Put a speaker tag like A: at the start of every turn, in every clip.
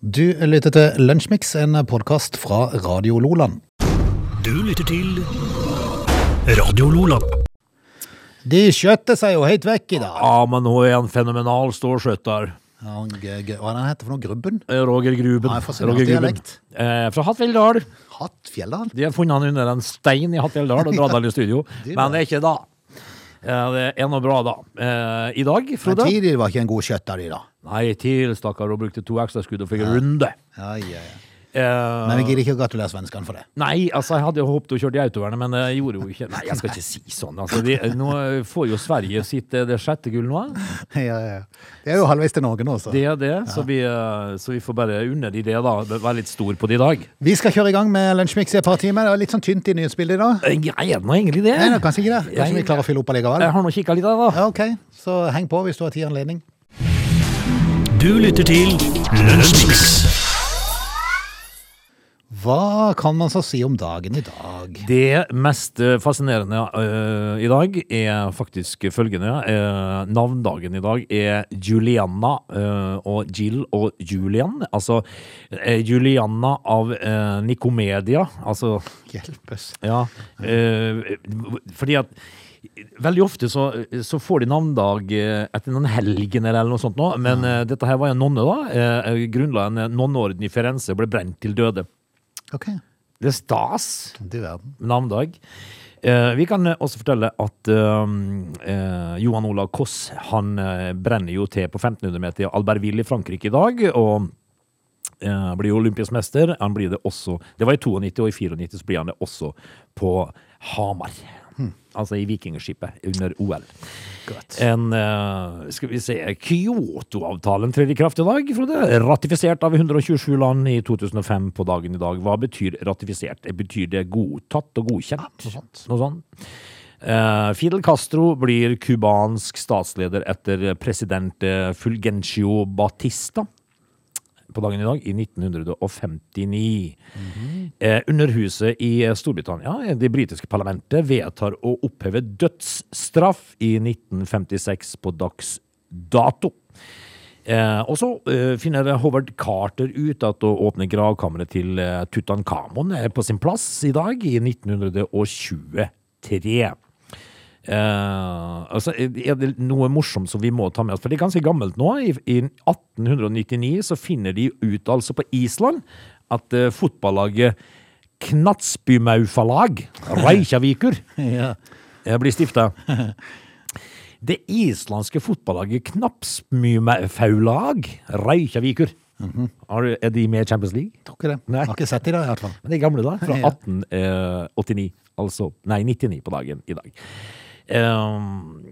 A: Du lytter til Lunsjmix, en podkast fra Radio Loland.
B: Du lytter til Radio Lola.
A: De skjøtter seg jo helt vekk i dag.
B: Ja, men nå er han fenomenal stålskjøtter.
A: Ja, han g- g- Hva er det han heter for noe? Grubben?
B: Eh, Roger Gruben.
A: Ja, jeg får se
B: Roger
A: hans dialekt.
B: Eh, fra Hattfjelldal.
A: Hattfjelldal?
B: De har funnet han under en stein i Hattfjelldal og dratt han i studio.
A: Det er bra.
B: Men det er ikke da. Eh, det er noe bra da. Eh, I dag,
A: Men
B: Frode
A: tidlig var ikke en god skjøtter, de da.
B: Nei, til, stakkar, og brukte to ekstra skudd og fikk en runde.
A: Ja, ja, ja.
B: Eh,
A: Men vi gidder ikke å gratulere svenskene for det.
B: Nei, altså jeg hadde jo håpet å kjøre i autovernet, men jeg gjorde jo ikke Nei, jeg skal ikke si sånn. Altså, de, nå får jo Sverige sitt eh, det sjette gull nå. eh.
A: Ja, ja. Det er jo halvveis til Norge nå, så.
B: Det er det, så, vi, eh, så vi får bare unne de det, da. Være litt stor på det i dag.
A: Vi skal kjøre i gang med Lunsjmix i et par timer. Det var litt sånn tynt i nyhetsbildet i dag.
B: Eh, Jeg er nå egentlig det.
A: Nei, det er kanskje ikke det. Kanskje
B: Jeg-
A: vi klarer å fylle opp allikevel.
B: Jeg har nå kikka litt, jeg, da.
A: Ja, ok. Så heng på hvis du har tid og anledning.
B: Du lytter til Lønnsmix.
A: Hva kan man så si om dagen i dag?
B: Det mest eh, fascinerende eh, i dag er faktisk følgende. eh, navndagen i dag er Julianna eh, og Jill og Julian. Altså eh, Julianna av eh, Nikomedia. Altså
A: Hjelpes.
B: Ja, eh, fordi at Veldig ofte så, så får de navndag eh, etter noen helgen eller noe sånt nå, men eh, dette her var en nonne da, eh, grunnla en nonneorden i Firenze og ble brent til døde.
A: Ok.
B: Det er stas
A: Du verden.
B: navndag. Eh, vi kan eh, også fortelle at eh, eh, Johan Olav Koss, han eh, brenner jo til på 1500 meter i Albertville i Frankrike i dag, og eh, blir jo olympisk mester. Han blir det også, det var i 92, og i 94 så blir han det også på Hamar. Altså i vikingskipet under OL.
A: Godt.
B: En, eh, skal vi se, Kyoto-avtalen trer i kraft i dag, Frode. Ratifisert av 127 land i 2005 på dagen i dag. Hva betyr ratifisert? Betyr det godtatt og godkjent?
A: noe sånt.
B: Noe sånt. Eh, Fidel Castro blir cubansk statsleder etter president eh, Fulgencio Batista på dagen i dag, i 1959. eh, underhuset i eh, Storbritannia, det britiske parlamentet, vedtar å oppheve dødsstraff i 1956 på dags dato. Eh, og så eh, finner Howard Carter ut at å åpne gravkammeret til eh, Tutankhamon er på sin plass i dag, i 1923. Eh, altså, er det noe morsomt som vi må ta med oss? For det er ganske gammelt nå. I, i 1899 så finner de ut altså på Island at eh, fotballaget Knatsbymaufalag Reykjavikur
A: Ja.
B: eh, blir stifta. Det islandske fotballaget Knapsmymaulag Reykjavikur. Har du- Er de med i Champions League?
A: Tror ikke det.
B: Nei.
A: Har ikke sett det i dag, i hvert fall.
B: Men det gamle da, fra
A: Ja.
B: 1889, altså, nei, 99 på dagen i dag. Ehm,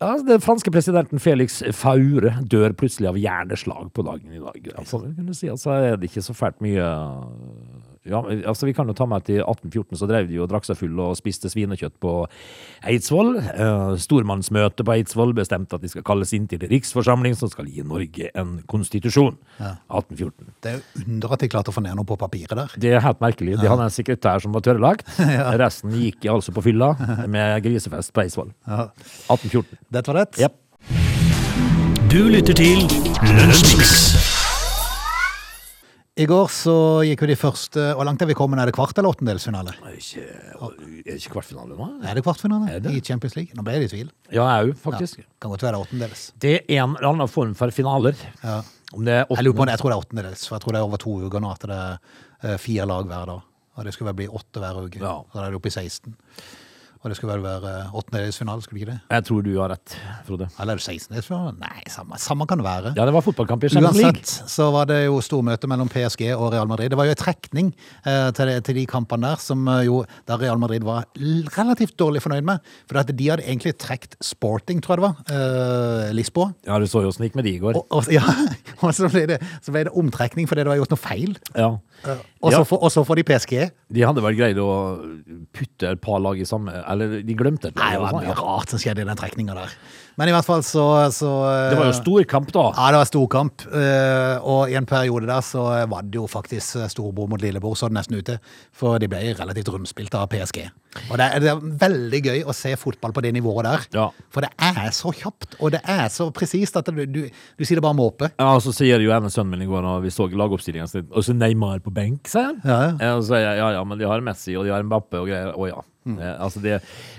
B: ja, den franske presidenten Felix Faure dør plutselig av hjerneslag på dagen i dag. Altså, det kunne du si, altså er det ikke så fælt mye ja, men, altså Vi kan jo ta med at i 1814 så drev de jo og drakk seg full og spiste svinekjøtt på Eidsvoll. Eh, Stormannsmøtet på Eidsvoll bestemte at de skal kalles inn til riksforsamling som skal gi Norge en konstitusjon. 1814.
A: Det er jo under at de klarte å få ned noe på papiret der.
B: Det er helt merkelig. De hadde en sekretær som var tørrlagt. Resten gikk altså på fylla med grisefest på Eidsvoll. 1814.
A: Dette var det.
B: Jep.
C: Du lytter til Lønnsmix.
A: I går så gikk jo de første Hvor langt er vi kommet? Er det kvart- eller åttendelsfinale?
B: Er det ikke kvartfinale nå?
A: Er det kvartfinale
B: Er det?
A: i Champions League? Nå ble jeg i tvil.
B: Ja, jeg òg, faktisk.
A: Kan godt være det er åttendels.
B: Det er en eller annen form for finaler.
A: Ja.
B: Om det er
A: Jeg lurer på om det,
B: åttende
A: jeg tror det er åttendels, for jeg tror det er over to uker nå at det er eh, fire lag hver dag. Og det skulle vel bli åtte hver uke.
B: Ja.
A: Så da er det oppe i 16. Og det skulle vel være eh, åttendelsfinale, skulle det ikke det?
B: Jeg tror du har rett, Frode.
A: Eller er det 16-delsfinale? Nei, samme, samme kan det være.
B: Ja, det var fotballkamp i Champions League.
A: Uansett så var det jo stormøte mellom PSG og Real Madrid. Det var jo en trekning eh, til, de- til de kampene der som eh, jo der Real Madrid var l- relativt dårlig fornøyd med. For at de hadde egentlig trukket Sporting, tror jeg det var, eh, Lisboa.
B: Ja, du så jo åssen det gikk med de i går.
A: Og, og, ja, og så, ble det, så ble det omtrekning fordi det var gjort noe feil.
B: Ja.
A: Eh, Og så
B: Ja.
A: får- og så får de PSG.
B: De hadde vel greid å putte et par lag i samme Eller de glemte det.
A: Nei, det var
B: eller noe sånt,
A: mye
B: ja.
A: rart som skjedde i den trekninga der. Men i hvert fall så, så eh,
B: Det var jo storkamp, da.
A: Ja, det var storkamp. eh, Og i en periode der så var det jo faktisk storbror mot lillebror, så det nesten ut til. For de ble relativt rundspilt av PSG. Og det er, det er veldig gøy å se fotball på det nivået der.
B: Ja.
A: For det er så kjapt, og det er så presist at du, du, du sier det bare måpe.
B: Ja, og Så sier jo ene sønnen min i går når vi så lagoppstillingen sin, og så Neymar på benk, sier han.
A: Ja, ja.
B: Eh, Og så sier jeg ja ja, men de har Messi og de har Mbappe og greier. Å ja.
A: Mm.
B: Eh, altså det,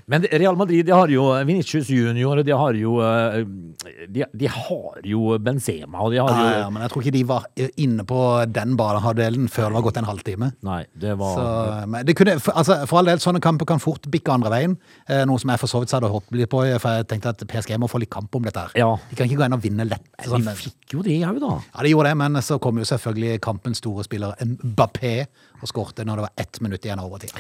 B: men det- Real Madrid de har jo eh, Vinicius Junior, og de har jo eh, de, de har jo Benzema, og de har
A: Ja,
B: jo
A: ja, men jeg tror ikke de var eh, inne på den barnehalvdelen før det var gått en halvtime.
B: Nei, det var
A: Så, men det kunne, for, altså, for all del, sånne kamper kan fort bikke andre veien. Eh, noe som jeg for så vidt hadde håpet litt på, for jeg tenkte at PSG må få litt kamp om dette her.
B: Ja. Altså,
A: De kan ikke gå inn og vinne lett.
B: Vi
A: Sånn,
B: fikk jo det, òg, da.
A: ja, de gjorde det, men så kom jo selvfølgelig kampens store spiller Mbappé og skårte når det var ett minutt igjen av overtid.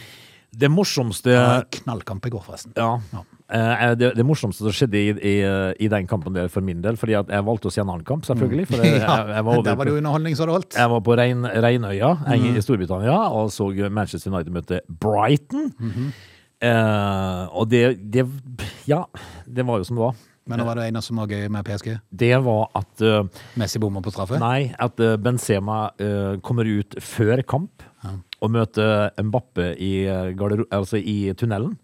B: Det morsomste
A: Det var en Knallkamp i går, forresten.
B: Eh, Ja. Eh, Det, det morsomste som skjedde i, i, i den kampen der for min del, fordi at jeg valgte å se en annen kamp, selvfølgelig. For jeg, jeg, jeg
A: der
B: var over
A: var det jo underholdning så det holdt.
B: jeg var på Rein, Reinøya jeg, i Storbritannia og så Manchester United møte Brighton. eh, og det, det Ja, det var jo som det var.
A: Men nå var det en som var gøy med PSG.
B: Det var at eh,
A: Messi bommer på straffe.
B: Nei, at eh, Benzema eh, kommer ut før kamp og møter Mbappe i, eh, gardero- altså i tunnelen.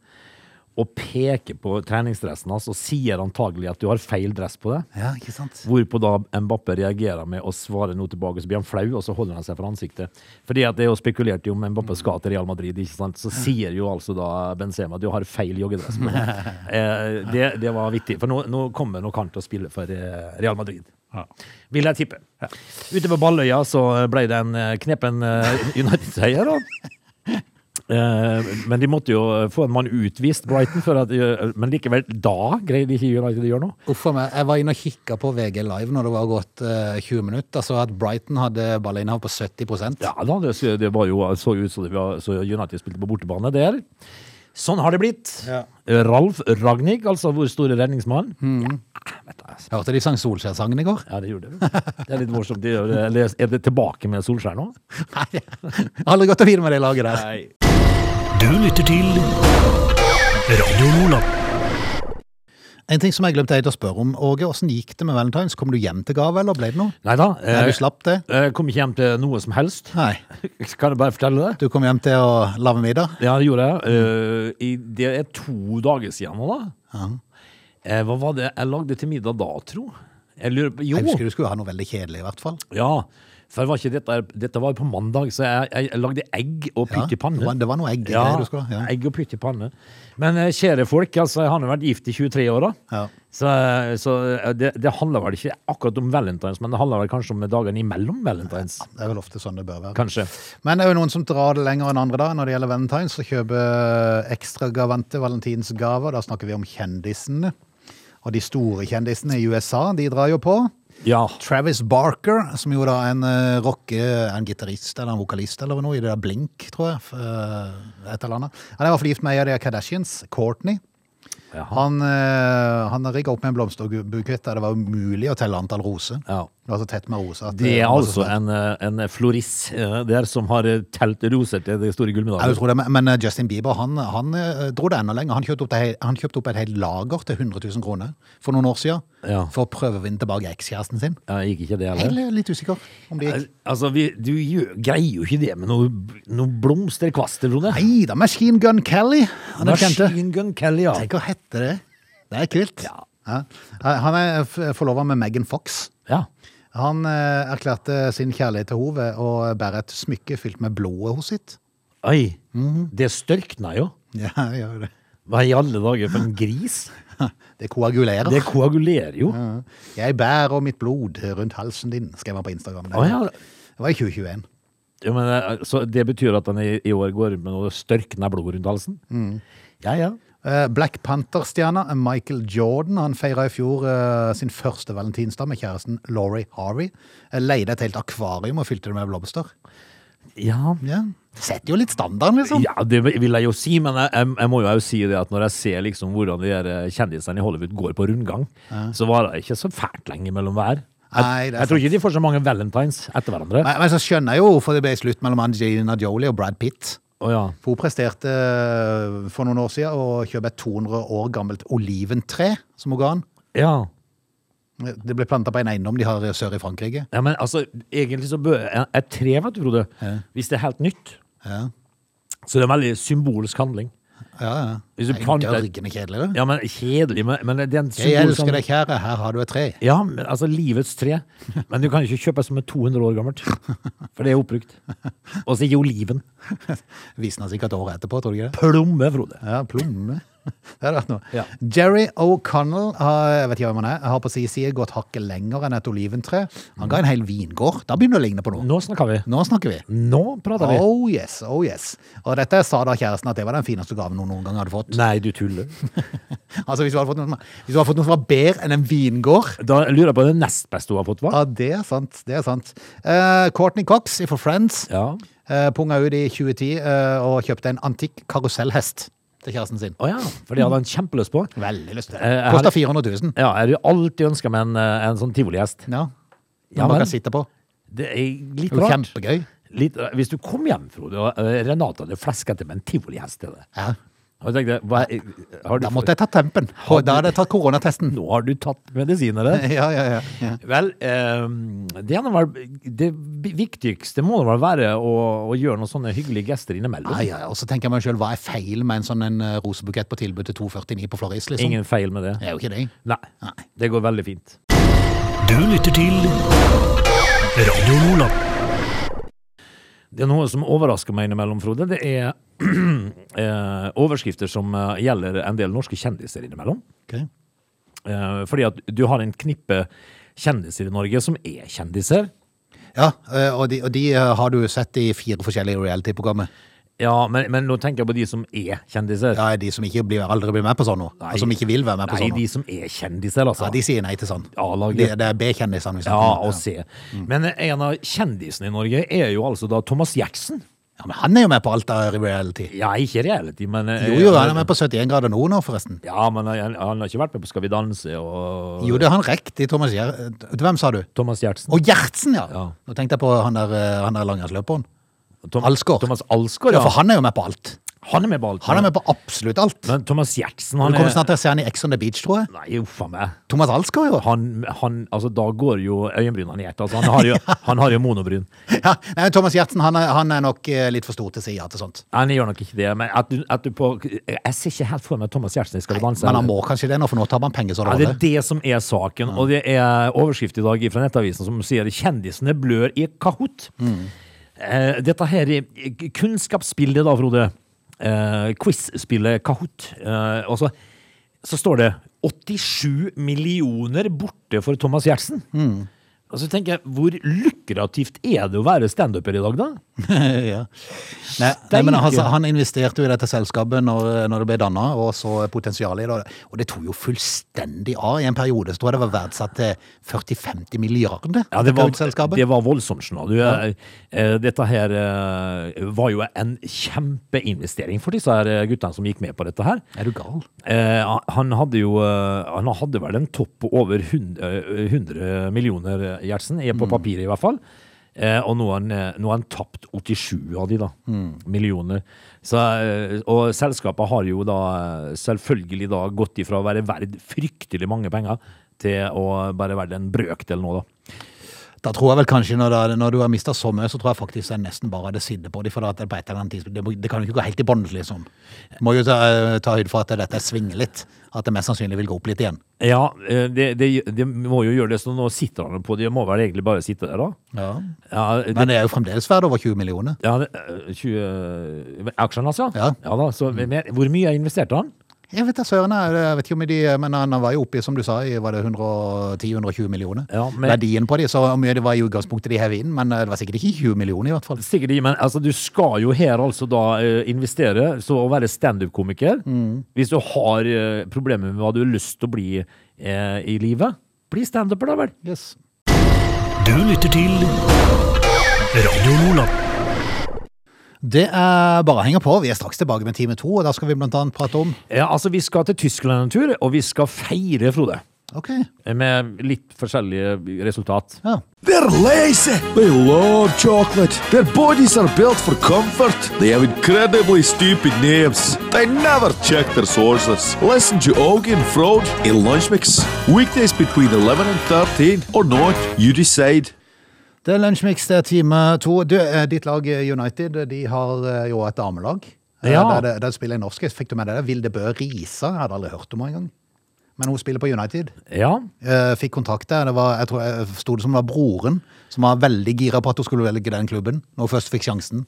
B: Og peker på treningsdressen hans og sier antagelig at du har feil dress på deg.
A: Ja, ikke sant?
B: Hvorpå da Mbappe reagerer med å svare noe tilbake, så blir han flau, og så holder han seg for ansiktet. Fordi at det er jo spekulert i om Mbappe skal til Real Madrid, ikke sant? så sier jo altså da Benzema du har feil joggedress. på deg." eh, det, det var vittig, for nå, nå kommer nok han til å spille for eh, Real Madrid. Vil jeg tippe. Ute på Balløya så ble det en eh, knepen eh, United-seier, da. Eh, Men de måtte jo få en mann utvist, Brighton, for at, eh, men likevel, da greide ikke United å gjøre noe.
A: Uff a meg. Jeg var inne og kikka på VG Live når det var gått eh, 20 minutter. Så at Brighton hadde ballinnehav på 70
B: Ja da, det, det var jo, så ut som det var- så United spilte på bortebane der. Sånn har det blitt.
A: Ja. Mm.
B: Ralf Ragnhild, altså vår store redningsmann. Ja, vet du, altså.
A: Hørte de sang Solskjær-sangen i går?
B: ja, det gjorde det. Det er litt morsomt. Det gjør det. Eller Er det tilbake med Solskjær nå?
A: Nei, jeg har aldri gått og videre med det laget der.
C: Du lytter til Radio Lola.
A: En ting som jeg glemte deg til å spørre om, Åge. Åssen gikk det med Valentine's? Kom du hjem til gave, eller ble det noe?
B: Nei da.
A: Nei,
B: eh,
A: du slapp det?
B: eh, Kom ikke hjem til noe som helst.
A: Nei.
B: Kan jeg bare fortelle det?
A: Du kom hjem til å lage middag?
B: Ja, det gjorde jeg. Eh, i, det er to dager siden nå, da. Eh, hva var det jeg lagde til middag da, tro? Jeg lurer på Jo.
A: Jeg husker du skulle ha noe veldig kjedelig, i hvert fall.
B: Ja, for var ikke dette, dette var på mandag, så jeg, jeg, lagde egg og
A: Ja,
B: pytt i panne.
A: det var- det var noe egg i
B: ja,
A: det du skulle ha, ja.
B: egg og pytt i panne. Men eh, kjære folk, altså, jeg har nå vært gift i 23 år, da.
A: Ja.
B: Så, så eh, det, det handler vel ikke akkurat om valentines, men det handler vel kanskje om dagene imellom valentines.
A: Det er vel ofte sånn det bør være.
B: Kanskje.
A: Men det er jo noen som drar det lenger enn andre da, når det gjelder valentines, og kjøper eh, ekstragavante valentinsgaver. Da snakker vi om kjendisene. Og de store kjendisene i USA, de drar jo på.
B: Ja.
A: Travis Barker, som jo da er en eh, rocke, en gitarist eller en vokalist eller noe, i det der Blink, tror jeg, f- eh, et eller annet. Han er i hvert fall gift med en av de Kardashians, Courtney.
B: Jaha.
A: Han, eh, han rigget opp med en blomsterbukett der det var umulig å telle antall roser.
B: Ja.
A: Det var så tett med roser. at
B: Det er
A: var så
B: altså
A: svært.
B: en, eh, en floris eh, der som har eh, telt roser til det store
A: Ja, du
B: gullmedaljen.
A: tror det, men- men eh, Justin Bieber han, han eh, dro det enda lenger. Han kjøpte opp, det, he- han kjøpte opp et helt lager til 100 000 kroner for noen år siden
B: Ja.
A: for å prøve å vinne tilbake ekskjæresten sin.
B: Ja, gikk ikke det,
A: Jeg
B: eller?
A: er litt usikker om det gikk.
B: Altså, vi, du gjør, greier jo ikke det med noe, noe blomsterkvaster, Frode.
A: Nei da, Machine Gun Kelly. Han er kjente.
B: Machine Gun Kelly, ja.
A: Tenk å hette det. Det er kult.
B: Ja.
A: Ja. Han er f- forlovet med Megan Fox.
B: ja.
A: Han eh, erklærte sin kjærlighet til henne ved å bære et smykke fylt med blodet hos sitt.
B: Oi,
A: Mhm.
B: det størkna jo.
A: Ja, gjør det.
B: Hva i alle dager for en gris?
A: Det koagulerer.
B: Det koagulerer jo.
A: Ja. Jeg bærer mitt blod rundt halsen din, skrev han på Instagram. Det,
B: Å, ja.
A: det var i 2021.
B: Ja, men, eh, så det betyr at han i, i år går rundt med noe størkna blod rundt halsen?
A: Mm.
B: Ja, ja.
A: Eh, Black Panther-stjerna eh, Michael Jordan han feira i fjor eh, sin første valentinsdag med kjæresten Laurie Harvey. Eh, Leide et helt akvarium og fylte det med blomster.
B: Ja,
A: Ja. Setter jo litt standarden, liksom.
B: ja det vil jeg jo si, men jeg, jeg, jeg må jo også si det at når jeg ser liksom hvordan de her eh, kjendisene i Hollywood går på rundgang, så varer det ikke så fælt lenge mellom hver. Jeg,
A: Nei, det er
B: jeg tror ikke de får så mange valentines etter hverandre.
A: Men, men så skjønner jeg jo hvorfor det ble slutt mellom Angelina Jolie og Brad Pitt.
B: Å ja.
A: For hun presterte eh, for noen år siden å kjøpe et 200 år gammelt oliventre som hun ga han.
B: Ja.
A: Det ble planta på en eiendom de har sør i Frankrike.
B: ja, men altså, egentlig så bør Et tre, vet du, Frode, hvis det er helt nytt,
A: Ja,
B: så det er en veldig symbolsk handling.
A: ja. ja.
B: Hvis du
A: Det er
B: planter-
A: Dørgende kjedelig, det.
B: Ja, men kjedelig, men, men det er en
A: Jeg
B: symbolsk
A: elsker
B: handling.
A: deg, kjære, her har du et tre.
B: Ja, men, altså livets tre. Men du kan ikke kjøpe som er 200 år gammelt. For det er oppbrukt. Og så er jo oliven
A: Visna sikkert året etterpå, tror du ikke det?
B: plomme, Frode.
A: Ja, plomme. Det hadde vært noe.
B: Ja.
A: Jerry O'Connell har, jeg vet ikke hvem han er, har på sin side gått hakket lenger enn et oliventre. Han ga en hel vingård. Da begynner det å ligne på noe.
B: Nå snakker vi.
A: Nå snakker vi.
B: Nå prater vi.
A: Oh yes, oh yes. Og dette sa da kjæresten at det var den fineste gaven hun noen gang hadde fått.
B: Nei, du tuller.
A: Altså Hvis du hadde fått noe som, hvis du hadde fått noe som var bedre enn en vingård
B: Da lurer jeg på det nest beste hun har fått, hva?
A: Ja, det er sant. det er sant. Eh, Courtney Cox for Friends
B: Ja.
A: eh, punga ut i 2010 eh, og kjøpte en antikk karusellhest til kjæresten sin.
B: Å ja, for det hadde han kjempelyst på.
A: Veldig lyst til det.
B: Eh, jeg
A: Kosta
B: hadde-
A: 400 000.
B: Ja, jeg har alltid ønska meg en, eh, en sånn tivolihest.
A: Ja.
B: Ja
A: Noe man
B: vel.
A: kan sitte på.
B: Det er litt
A: Det var
B: rart.
A: kjempegøy.
B: Litt, hvis du kom hjem, Frode, og eh, Renate hadde fleska til med en tivolihest til deg
A: Ja.
B: Og jeg tenkte, hva, har du,
A: Da måtte jeg ta tempen. Og da hadde jeg tatt koronatesten.
B: Nå har du tatt medisiner, det.
A: Ja, ja, ja. ja.
B: Vel, eh, det, ene var, det viktigste må det vel være å, å gjøre noen sånne hyggelige gester innimellom.
A: Ja, ja, ja. Og så tenker jeg meg sjøl, hva er feil med en sånn en eh, rosebukett på tilbud til 249 på Floris, liksom?
B: Ingen feil med det.
A: Det er jo ikke det.
B: Nei, det går veldig fint.
C: Du lytter til Radio Lola.
B: Det er noe som overrasker meg innimellom, Frode. Det er eh, overskrifter som eh, gjelder en del norske kjendiser innimellom.
A: Ok.
B: Eh, fordi at du har en knippe kjendiser i Norge som er kjendiser.
A: Ja, eh, og de, og de eh, har du sett i fire forskjellige reality-programmer.
B: Ja, men, men nå tenker jeg på de som er kjendiser.
A: Ja, de som ikke blir, aldri blir med på sånn noe.
B: Nei.
A: Og som ikke vil være med på
B: Nei,
A: sånn
B: de
A: noe.
B: som er kjendiser, altså.
A: Ja, de sier nei til sånn.
B: A-laget.
A: De, det er B-kjendisene vi
B: Ja,
A: snakker
B: å
A: om.
B: se.
A: Mm.
B: Men en av kjendisene i Norge er jo altså da Thomas Jackson.
A: Ja, men han er jo med på alt av reality.
B: Ja, ikke reality, men eh,
A: Jo, jo, han er med på 71 grader nord nå, forresten.
B: Ja, men han, han har ikke vært med på Skal vi danse og
A: Jo, det har han rekt i Thomas Gjer... Hvem sa du?
B: Thomas Gjertsen.
A: Å, Gjertsen, ja.
B: Ja.
A: Nå tenkte jeg på han der, eh, han der langrennsløperen.
B: Tom,
A: Alsgaard.
B: Thomas Alsgaard,
A: Ja,
B: ja.
A: for han er jo med på alt.
B: Han er med på alt.
A: Han er med på absolutt alt.
B: Men eh, Thomas Gjertsen,
A: Du
B: han
A: kommer
B: er
A: snart til å se han i Ex on the Beach, tror jeg.
B: Nei, uff a meg.
A: Thomas Alsgaard, jo.
B: Han, han, altså, da går jo øyenbrynene i hjertet. Altså, han, har jo, han har jo monobryn.
A: Ja, nei, Thomas Gjertsen han er, han er nok eh, litt for stor til å si ja til sånt.
B: Han gjør nok ikke det. Men at du, at du på Jeg ser ikke helt for meg Thomas Gjertsen i Skal vi danse.
A: Men han må kanskje det nå, for nå tar man penger så det
B: Ja, det er
A: holder.
B: det som er saken. Og det er overskrift i dag fra Nettavisen som sier 'Kjendisene blør i Kahoot'. Eh, Dette her er kunnskapsspillet, da, Frode. Eh, Quiz-spillet Kahoot. Eh, og så, så står det 87 millioner borte for Thomas Gjertsen. Og så tenker jeg, hvor lukrativt er det å være standuper i dag, da?
A: ja. nei, nei, men
B: Steike.
A: altså, han investerte jo i dette selskapet når, når det ble danna, og så potensialet i det. Og det tok jo fullstendig av i en periode. Så tror jeg det var verdsatt til 40-50 milliarder.
B: Ja, det var,
A: Kahoot-selskapet.
B: det var voldsomt. skjønner Du, Eh, Dette her eh, var jo en kjempeinvestering for disse her eh, guttene som gikk med på dette her.
A: Er du gal?
B: Eh, Han hadde jo eh, Han hadde vel en topp på over 100, 100 millioner, eh, Gjertsen, eh,
A: Mm.
B: på papiret i hvert fall. Eh, Og nå har han, eh, nå har han tapt 87 av de, da.
A: Mm.
B: Millioner. Så, eh, og selskapet har jo da eh, selvfølgelig da gått ifra å være verd fryktelig mange penger til å bare være en brøkdel nå, da.
A: Da tror jeg vel kanskje når, det, når du har mista så mye, så tror jeg faktisk jeg nesten bare hadde siddet på dem. For at det, på et eller annet tidspunkt, det, må- det kan jo ikke gå helt i bånn, liksom. Må jo ta, eh, ta høyde for at dette svinger litt. At det mest sannsynlig vil gå opp litt igjen.
B: Ja, eh, det, det, det må jo gjøre det, så nå sitter han på det. Må vel egentlig bare sitte der, da? Ja, det,
A: Men det er jo fremdeles verdt over 20 millioner.
B: ja, det, eh, 20 Aksjene, altså?
A: Ja.
B: da, så, mer, hvor mye investerte han?
A: Jeg vet da søren, jeg jeg vet ikke om de Men han var jo oppe i, som du sa, i var det 110-120 millioner.
B: Ja, men-
A: Verdien på de, så hvor mye det var i utgangspunktet de hev inn, men eh, det var sikkert ikke 20 millioner, i hvert fall.
B: Sikkert, ikke, men altså, du skal jo her altså da eh, investere, så å være standup-komiker Hvis du har eh, problemer med hva du har lyst til å bli eh, i livet, bli standuper, da vel.
A: Yes.
C: Du lytter til Radio Lola.
A: Det er bare å henge på. Vi er straks tilbake med Time to, og da skal vi blant annet prate om
B: Ja, altså, vi skal til Tyskland en tur, og vi skal feire, Frode.
A: Ok.
B: med litt forskjellige resultat.
A: Ja.
D: They're lazy. They love chocolate. Their bodies are built for comfort. They have incredibly stupid names. They never check their sources. Listen to Augie and Frode in Lunch Mix. Weekdays between 11 and 13 or not, you decide.
A: Det er Lunsjmix, det er time to. Du, eh, ditt lag eh, United eh, de har eh, jo et damelag. Eh,
B: Ja.
A: Der, det- der spiller en norsk. Fikk du med deg det? Vilde Bø Risa. Jeg hadde aldri hørt om henne engang. Men hun spiller på United.
B: Ja,
A: Eh, Fikk kontakt der. Det var, jeg tror jeg forsto det som det var broren som var veldig gira på at hun skulle velge den klubben, når hun først fikk sjansen.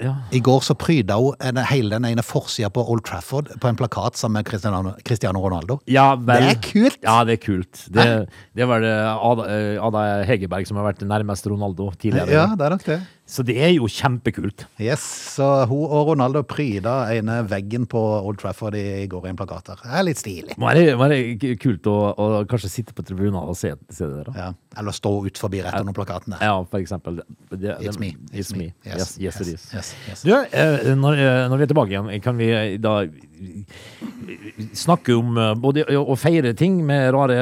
B: ja.
A: I går så pryda hun en- hele den ene forsida på Old Trafford på en plakat sammen med Cristiano, Cristiano Ronaldo.
B: Ja, vel.
A: Det er kult.
B: Ja, det er kult. Det, det var det Ada, eh, Ada Hegerberg som har vært nærmest Ronaldo tidligere.
A: Ja, det er nok det.
B: Så det er jo kjempekult.
A: Yes, så hun og Ronaldo pryda ene veggen på Old Trafford i går i en plakat der. Det er litt stilig.
B: Må være, må være k- kult å, å kanskje sitte på tribunen og se, se det der. da.
A: Ja. Eller stå ut forbi rett under plakaten der.
B: Ja, for eksempel. Det, det,
A: It's me.
B: It's me. Yes, yes, it is.
A: Yes, yes.
B: Du, eh, når, eh, når vi er tilbake igjen, kan vi eh, da snakke om eh, både å å feire ting med rare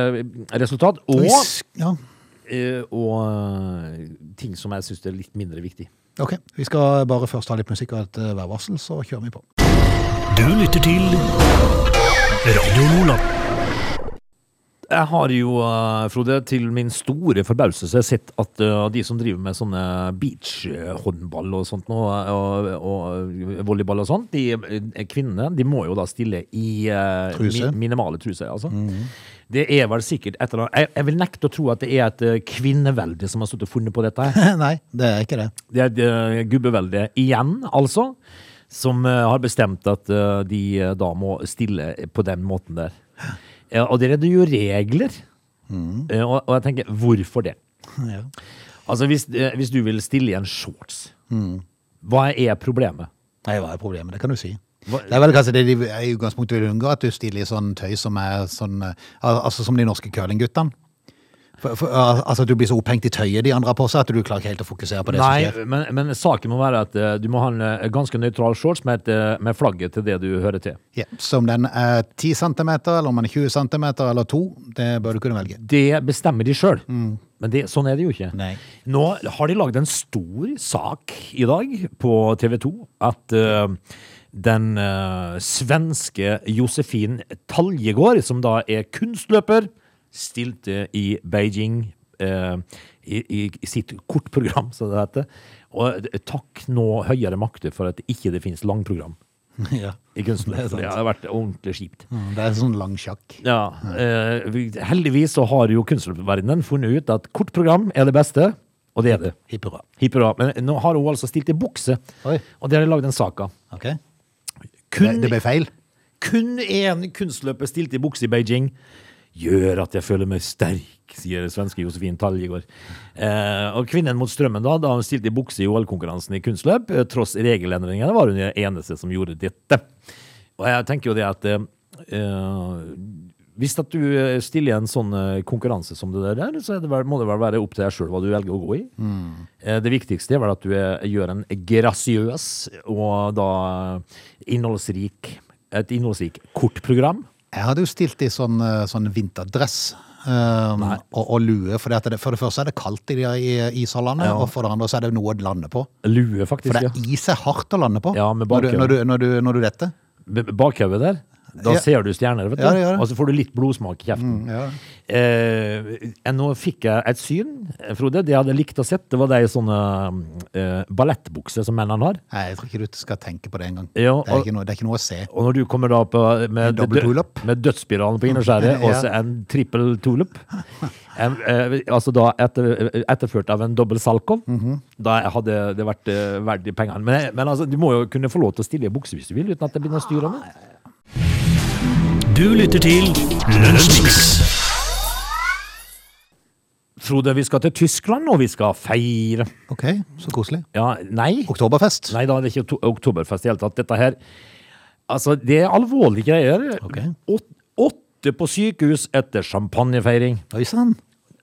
B: resultat, og,
A: Hvis- Ja.
B: eh, og eh, ting som jeg syns er litt mindre viktig.
A: Ok, vi skal bare først ha litt musikk og et eh, værvarsel, så kjører vi på.
C: Du lytter til Radio Lola.
B: Jeg har jo, eh, Frode, til min store forbauselse sett at eh, de som driver med sånne beachhåndball og sånt nå, og, og volleyball og sånt, de eh, kvinnene, de må jo da stille i eh,
A: Truse.
B: mi minimale truse, altså. Det er vel sikkert et eller annet jeg, jeg vil nekte å tro at det er et eh, kvinnevelde som har stått og funnet på dette. her.
A: Nei, det er ikke det.
B: Det er et eh, gubbevelde igjen, altså, som eh, har bestemt at eh, de eh, da må stille på den måten der. Eh, og det er jo regler.
A: Mm.
B: Eh, og, og jeg tenker, hvorfor det?
A: Ja.
B: Altså, hvis, eh, hvis du vil stille i en shorts,
A: Mm.
B: hva er problemet?
A: Nei, hva er problemet? Det kan du si.
B: Hva-
A: Det er vel kanskje det de i utgangspunktet vil unngå, at du stiller i sånn tøy som er sånn eh, al- Altså som de norske curlingguttene. For, for, al- altså at du blir så opphengt i tøyet de andre har på seg, at du klarer ikke helt å fokusere på det som skjer.
B: Nei, men, men saken må være at eh, du må ha en eh, ganske nøytral shorts med, et, eh, med flagget til det du hører til.
A: Ja, som den er 10 cm, eller om den er 20 cm, eller 2, det bør du kunne velge.
B: Det bestemmer de sjøl. Men det, sånn er det jo ikke.
A: Mm. Nei.
B: Nå har de lagd en stor sak i dag på TV 2 at eh, den eh, svenske Josefin Taljegård, som da er kunstløper, stilte i Beijing eh, i, i, i sitt kortprogram, som det heter. Og takk nå høyere makter for at ikke det finnes langprogram
A: ja.
B: i kunstløp.
A: sant.
B: Det har vært ordentlig kjipt.
A: Mm, Det er sånn lang sjakk.
B: Ja, eh, vi- heldigvis så har jo kunstverdenen funnet ut at kort program er det beste, og det er det.
A: Hipp hurra.
B: Hipp hurra. Men nå har hun altså stilt i bukse,
A: Oi.
B: og det har de lagd en sak av.
A: Ok. Det,
B: Kun,
A: det ble feil.
B: kun én kunstløper stilt i bukse i Beijing gjør at jeg føler meg sterk, sier svenske Josefin Taljegård. Eh, og kvinnen mot strømmen, da, da hun stilte i bukse i OL-konkurransen i kunstløp, eh, tross regelendringene, var hun den eneste som gjorde dette. Og jeg tenker jo det at eh, eh, hvis at du eh, stiller i en sånn eh, konkurranse som det der, er, så er det vel, må det vel være opp til deg sjøl hva du velger å gå i.
A: Mm.
B: Eh, Det viktigste er vel at du er, gjør en grasiøs og da eh, innholdsrik et innholdsrik kortprogram.
A: Jeg hadde jo stilt i sånn, eh, sånn vinterdress um, og, og lue, for det, for det første er det kaldt i de i- ishallene,
B: Ja.
A: og for det andre så er det noe å lande på.
B: Lue,
A: For
B: faktisk.
A: det
B: ja.
A: er is er hardt å lande på
B: Ja, med
A: når, du,
B: bakhjul.
A: når, du, når, du, når du detter.
B: B- Bakhodet der. Da
A: Ja.
B: ser du stjerner, vet du.
A: Ja, det gjør det. Mm,
B: Og så får du litt blodsmak i kjeften. Eh, eh, nå fikk jeg et syn, eh, Frode. Det jeg hadde likt å sett, det var de sånne eh, ballettbukser som mennene har.
A: Nei, jeg tror ikke du skal tenke på det engang.
B: Ja,
A: det, er
B: og-
A: ikke noe- det er ikke noe å se.
B: Og når du kommer da på, med,
A: En dobbel tulip.
B: med dødsspiralen på innerskjæret, og så
A: Ja.
B: en trippel tulip en, eh, Altså da etter, etterført av en dobbel salkov,
A: Mhm.
B: da hadde det vært eh, verdt de pengene. Men, men altså, du må jo kunne få lov til å stille i bukse hvis du vil, uten at det blir noe styr om det.
C: Du lytter til Lunsjmix.
B: Frode, vi skal til Tyskland, og vi skal feire
A: Ok, så koselig.
B: Ja, nei.
A: Oktoberfest.
B: Nei da, det er ikke okto- oktoberfest i det hele tatt. Dette her Altså, det er alvorlige greier.
A: Ok.
B: Åt- Åtte på sykehus etter champagnefeiring.
A: Oi sann.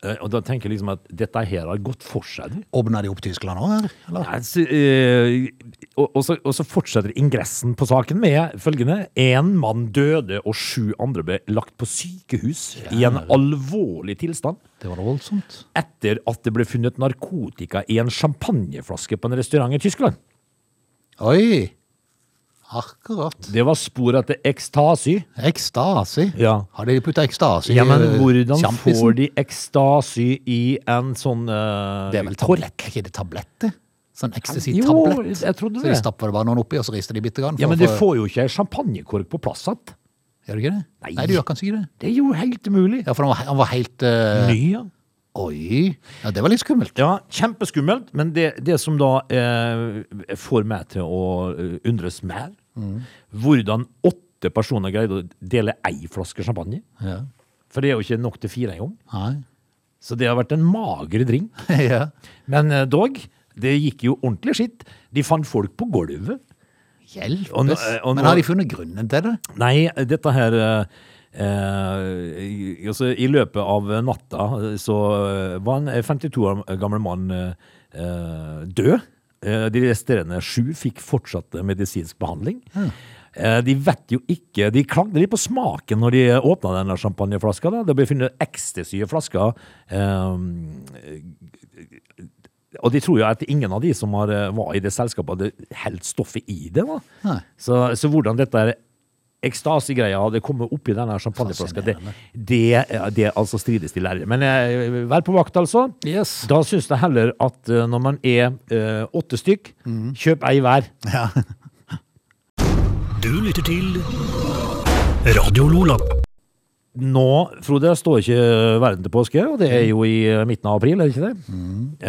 B: eh, og da tenker jeg liksom at dette her har gått for seg. du.
A: Åpna de opp Tyskland òg her? Eller?
B: Ja, så, eh, og, og, så, og så fortsetter ingressen på saken med følgende. Én mann døde, og sju andre ble lagt på sykehus i en alvorlig tilstand
A: Det var da voldsomt.
B: etter at det ble funnet narkotika i en champagneflaske på en restaurant i Tyskland.
A: Oi! Akkurat.
B: Det var spor etter ekstasi.
A: Ekstasi.
B: Ja.
A: Har de putta ekstasi
B: Ja, men
A: eh,
B: hvordan
A: sjampisen?
B: får de ekstasi i en sånn eh,
A: Det er vel
B: kork?
A: tablett? Er ikke det tabletter? Sånn
B: Jo,
A: ecstasy-tablett?
B: jeg trodde
A: Så de
B: det.
A: stapper det bare noen oppi, og så rister de bitte grann? for
B: Ja, men
A: å
B: du
A: få-
B: får jo ikke ei champagnekork på plass igjen.
A: Gjør du ikke det?
B: Nei.
A: Nei, du gjør kanskje ikke det.
B: Det er jo helt umulig.
A: Ja, for han var, han var helt eh,
B: Ny, ja.
A: Oi! Ja, det var litt skummelt.
B: Ja, kjempeskummelt, men det, det som da eh, får meg til å eh, undres mer, hvordan åtte personer greide å dele ei flaske champagne.
A: Ja.
B: For det er jo ikke nok til fire engang.
A: Nei.
B: Så det har vært en mager drink.
A: ja.
B: Men eh, dog, det gikk jo ordentlig skitt. De fant folk på gulvet.
A: Hjelpes.
B: Og nå- og nå-
A: Men har de funnet grunnen til det?
B: Nei, dette her eh, eh, i- altså, I løpet av natta eh, så eh, var en 52 år gammel mann eh, eh, død. Eh, de resterende sju fikk fortsatt eh, medisinsk behandling. Eh, de vet jo ikke De klagde litt på smaken når de åpna denne champagneflaska. Da. Det ble funnet ecstasy i flaska. eh, og de tror jo at ingen av de som har, eh, var i det selskapet, hadde helt stoffet i det. da.
A: Nei.
B: Så, så hvordan dette er ekstasigreia hadde kommet oppi denne champagneflaska, det, det, eh, det altså strides de lærere. Men eh, vær på vakt, altså.
A: Yes.
B: Da syns jeg heller at eh, når man er eh, åtte stykk, kjøp ei hver.
C: Du lytter til Radio Lola.
B: Nå, Frode, står ikke verden til påske, og det er jo i eh, midten av april, er det ikke det?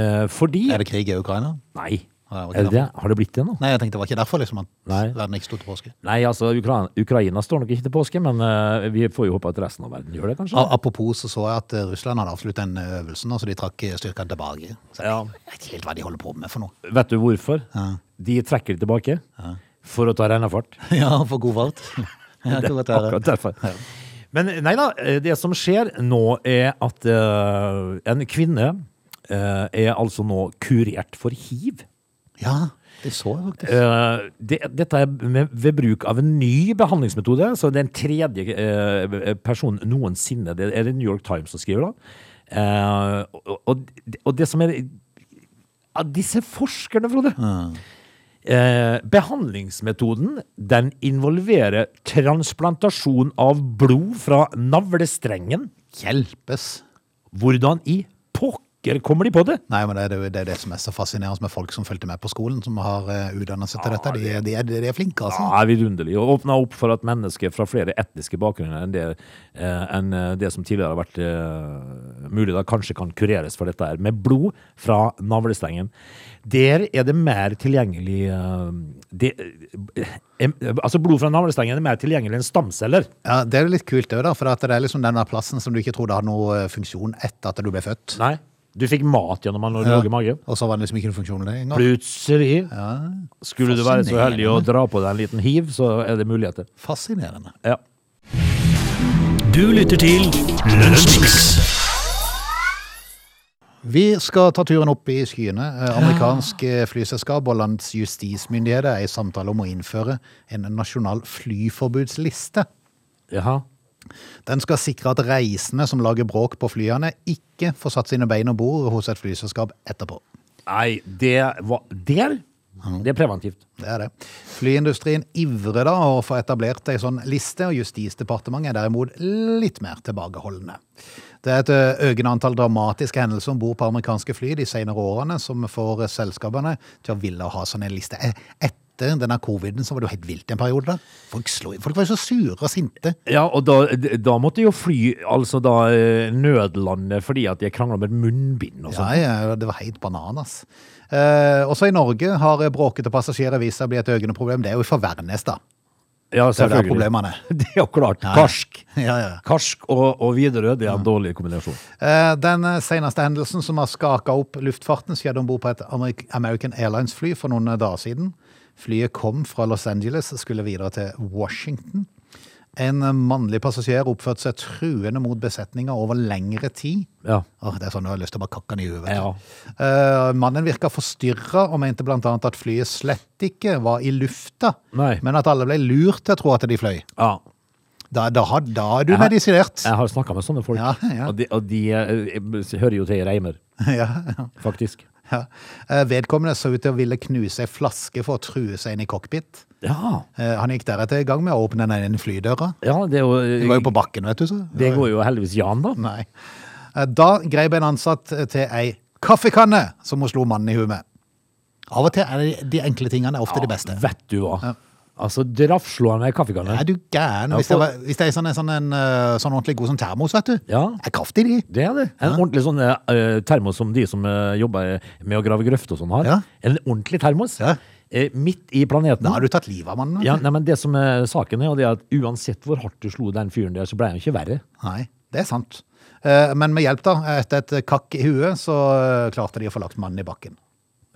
B: Eh, fordi
A: Er det krig i Ukraina?
B: Nei.
A: Ja, det var ikke
B: Er det det? Har det blitt det nå?
A: Nei, jeg tenkte det var ikke derfor liksom at
B: Nei.
A: verden ikke sto til påske.
B: Nei, altså Ukraina, Ukraina står nok ikke til påske, men eh, vi får jo håpe at resten av verden gjør det, kanskje.
A: A- Apropos så så jeg at eh, Russland hadde avsluttet den eh, øvelsen, altså de trakk eh, styrkene tilbake. Så jeg
B: Ja.
A: vet ikke helt hva de holder på med for noe.
B: Vet du hvorfor?
A: Ja.
B: De trekker det tilbake for å ta regnefart.
A: Ja, for god fart. Ja, det er
B: Akkurat derfor. Men nei da, eh, det som skjer nå er at eh, en kvinne eh, er altså nå kurert for hiv.
A: Ja, det så jeg faktisk.
B: Eh, det, dette er med, ved bruk av en ny behandlingsmetode, så det er en tredje eh, person noensinne. Det er det New York Times som skriver, da. Eh, og, og, og det som er ja, Disse forskerne, Frode. Eh, behandlingsmetoden den involverer transplantasjon av blod fra navlestrengen.
A: Hjelpes!
B: Hvordan i pokker kommer de på det?
A: Nei, men det er det, det er det som er så fascinerende med folk som fulgte med på skolen, som har eh, utdannet seg til dette. De, er- de, er, de er flinke, altså.
B: Ja, er vidunderlig. Og åpna opp for at mennesker fra flere etniske bakgrunner enn det, eh, enn eh, det som tidligere har vært eh, mulig, da kanskje kan kureres for dette her. Med blod fra navlestengen. Der er det mer tilgjengelig eh, det, eh, Altså, blod fra navlestengen er mer tilgjengelig enn stamceller.
A: Ja, det er jo litt kult det, da, for at det er liksom denne plassen som du ikke trodde hadde noe eh, funksjon etter at du ble født.
B: Nei. Du fikk mat gjennom han når du
A: Ja.
B: lå i magen.
A: Og så var det liksom ikke noen funksjon lenger.
B: Plutselig, skulle du være så heldig å
A: Fascinerende.
B: dra på deg en liten hiv, så er det muligheter.
A: Fascinerende.
B: Ja.
C: Du lytter til Lunsjmix.
A: Vi skal ta turen opp i skyene. Eh, Amerikansk eh, flyselskap og lands justismyndigheter er i samtale om å innføre en nasjonal flyforbudsliste.
B: Jaha.
A: Den skal sikre at reisende som lager bråk på flyene, ikke får satt sine bein om bord hos et flyselskap etterpå.
B: Nei, det var Der! Det er preventivt.
A: Det er det. Flyindustrien ivrer da å få etablert ei sånn liste, og Justisdepartementet er derimot litt mer tilbakeholdne. Det er et ø, økende antall dramatiske hendelser om bord på amerikanske fly de senere årene som får selskapene til å ville ha sånn en liste. E- Etter denne coviden så var det jo helt vilt en periode. da. Folk, slo, folk var jo så sure og sinte.
B: Ja, og da, da måtte jo fly altså da eh, nødlandet fordi at de krangla om et munnbind og sånn.
A: Ja, ja, eh, det var helt bananas. Eh, også i Norge har bråkete passasjerer vist seg å bli et økende problem. Det er jo fra Værnes, da.
B: Ja,
A: Det er jo der problemene er.
B: Det er jo klart.
A: Ja.
B: Karsk.
A: Ja, ja.
B: Karsk og, og Widerøe, det er en dårlig kombinasjon.
A: Eh, Den eh, seneste hendelsen som har skaka opp luftfarten, skjedde om bord på et Amerik- American Airlines-fly for noen eh, dager siden. Flyet kom fra Los Angeles og skulle videre til Washington. En mannlig passasjer oppførte seg truende mot besetninga over lengre tid.
B: Ja.
A: Åh, det er sånn, Jeg har lyst til å bare kakke den i huet. vet du.
B: Ja.
A: Eh, mannen virka forstyrra og mente bl.a. at flyet slett ikke var i lufta,
B: Nei.
A: men at alle ble lurt til å tro at de fløy.
B: ja.
A: Da, da, har- da er du
B: Jeg har-
A: medisinert.
B: Jeg har snakka med sånne folk,
A: Ja, ja.
B: og de, og de eh, hører jo til i Reimer,
A: ja, ja,
B: faktisk.
A: ja. Eh, vedkommende så ut til å ville knuse ei flaske for å true seg inn i cockpit.
B: Ja,
A: Eh, han gikk deretter i gang med å åpne den ene flydøra.
B: ja det, er jo,
A: Det var jo på bakken, vet du. så.
B: det går jo heldigvis Jan, da.
A: Nei. Eh, Da greip en ansatt til ei kaffekanne som hun slo mannen i huet med. Av og til er det de enkle tingene er ofte de beste.
B: Vet du hva. Altså, draff slå han med kaffekanne.
A: Er du gæren? Hvis,
B: Ja, for-
A: det, var, hvis det er sånn, en sånn, en, eh, sånn ordentlig god sånn termos, vet du.
B: Ja.
A: Er kraft i de.
B: Det er det. En ordentlig sånn eh, termos som de som eh, jobber med å grave grøft og sånn har.
A: Ja.
B: En ordentlig termos.
A: Ja.
B: Eh, midt i planeten.
A: Da har du tatt livet av mannen. vet
B: Ja,
A: du.
B: nei, men det som er saken er, og det er at uansett hvor hardt du slo den fyren der, så ble han jo ikke verre.
A: Nei, det er sant. Eh, Men med hjelp, da, etter et kakk i huet, så eh, klarte de å få lagt mannen i bakken.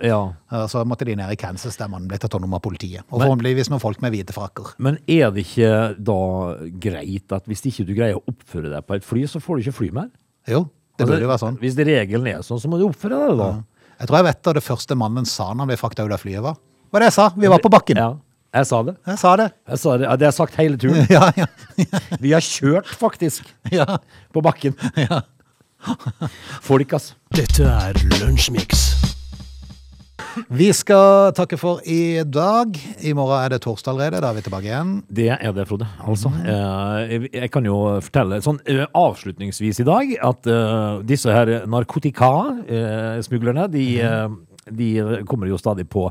B: Ja.
A: Eh, Så måtte de ned i Kansas, der mannen ble tatt hånd om av politiet. Og forhåpentligvis noen folk med hvite frakker.
B: Men er det ikke da greit at hvis ikke du greier å oppføre deg på et fly, så får du ikke fly mer?
A: Jo, det
B: Altså,
A: burde jo være sånn.
B: Hvis det regelen er sånn, så må du oppføre deg da.
A: Jeg tror jeg vet hva det første mannen sa når han ble frakta ut av flyet, var. Hva var det jeg sa? Vi var på bakken.
B: Ja, jeg sa det.
A: Jeg sa det.
B: Jeg sa det. Ja, det har jeg sagt hele turen.
A: Ja, ja.
B: Vi har kjørt, faktisk,
A: ja.
B: på bakken. Folk, altså.
C: Dette er Lunsjmix.
A: Vi skal takke for i dag. I morgen er det torsdag allerede. Da er vi tilbake igjen.
B: Det er det, Frode. Altså, eh, jeg- jeg kan jo fortelle sånn eh, avslutningsvis i dag at eh, disse her narkotikasmuglerne, de, eh, de kommer jo stadig på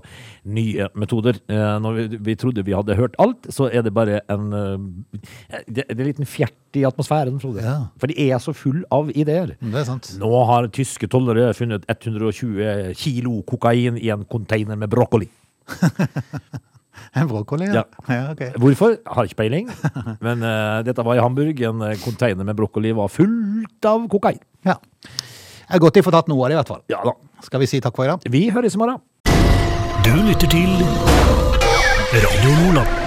B: nye metoder. Eh, Når vi, vi trodde vi hadde hørt alt, så er det bare en eh, Det, det er en liten fjert i atmosfæren, Frode.
A: Ja.
B: For de er så full av ideer.
A: Mm, Det er sant.
B: Nå har tyske tollere funnet 120 kilo kokain i en container med brokkoli.
A: En brokkoli? Ja. ja ok.
B: Hvorfor? Har ikke peiling. Men eh, dette var i Hamburg. En eh, container med brokkoli var fullt av kokain.
A: Ja. Det er godt de får tatt noe av det, i hvert fall.
B: Ja da.
A: Skal vi si takk for i dag?
B: Vi høres i morgen.
C: Du lytter til Radio Lola.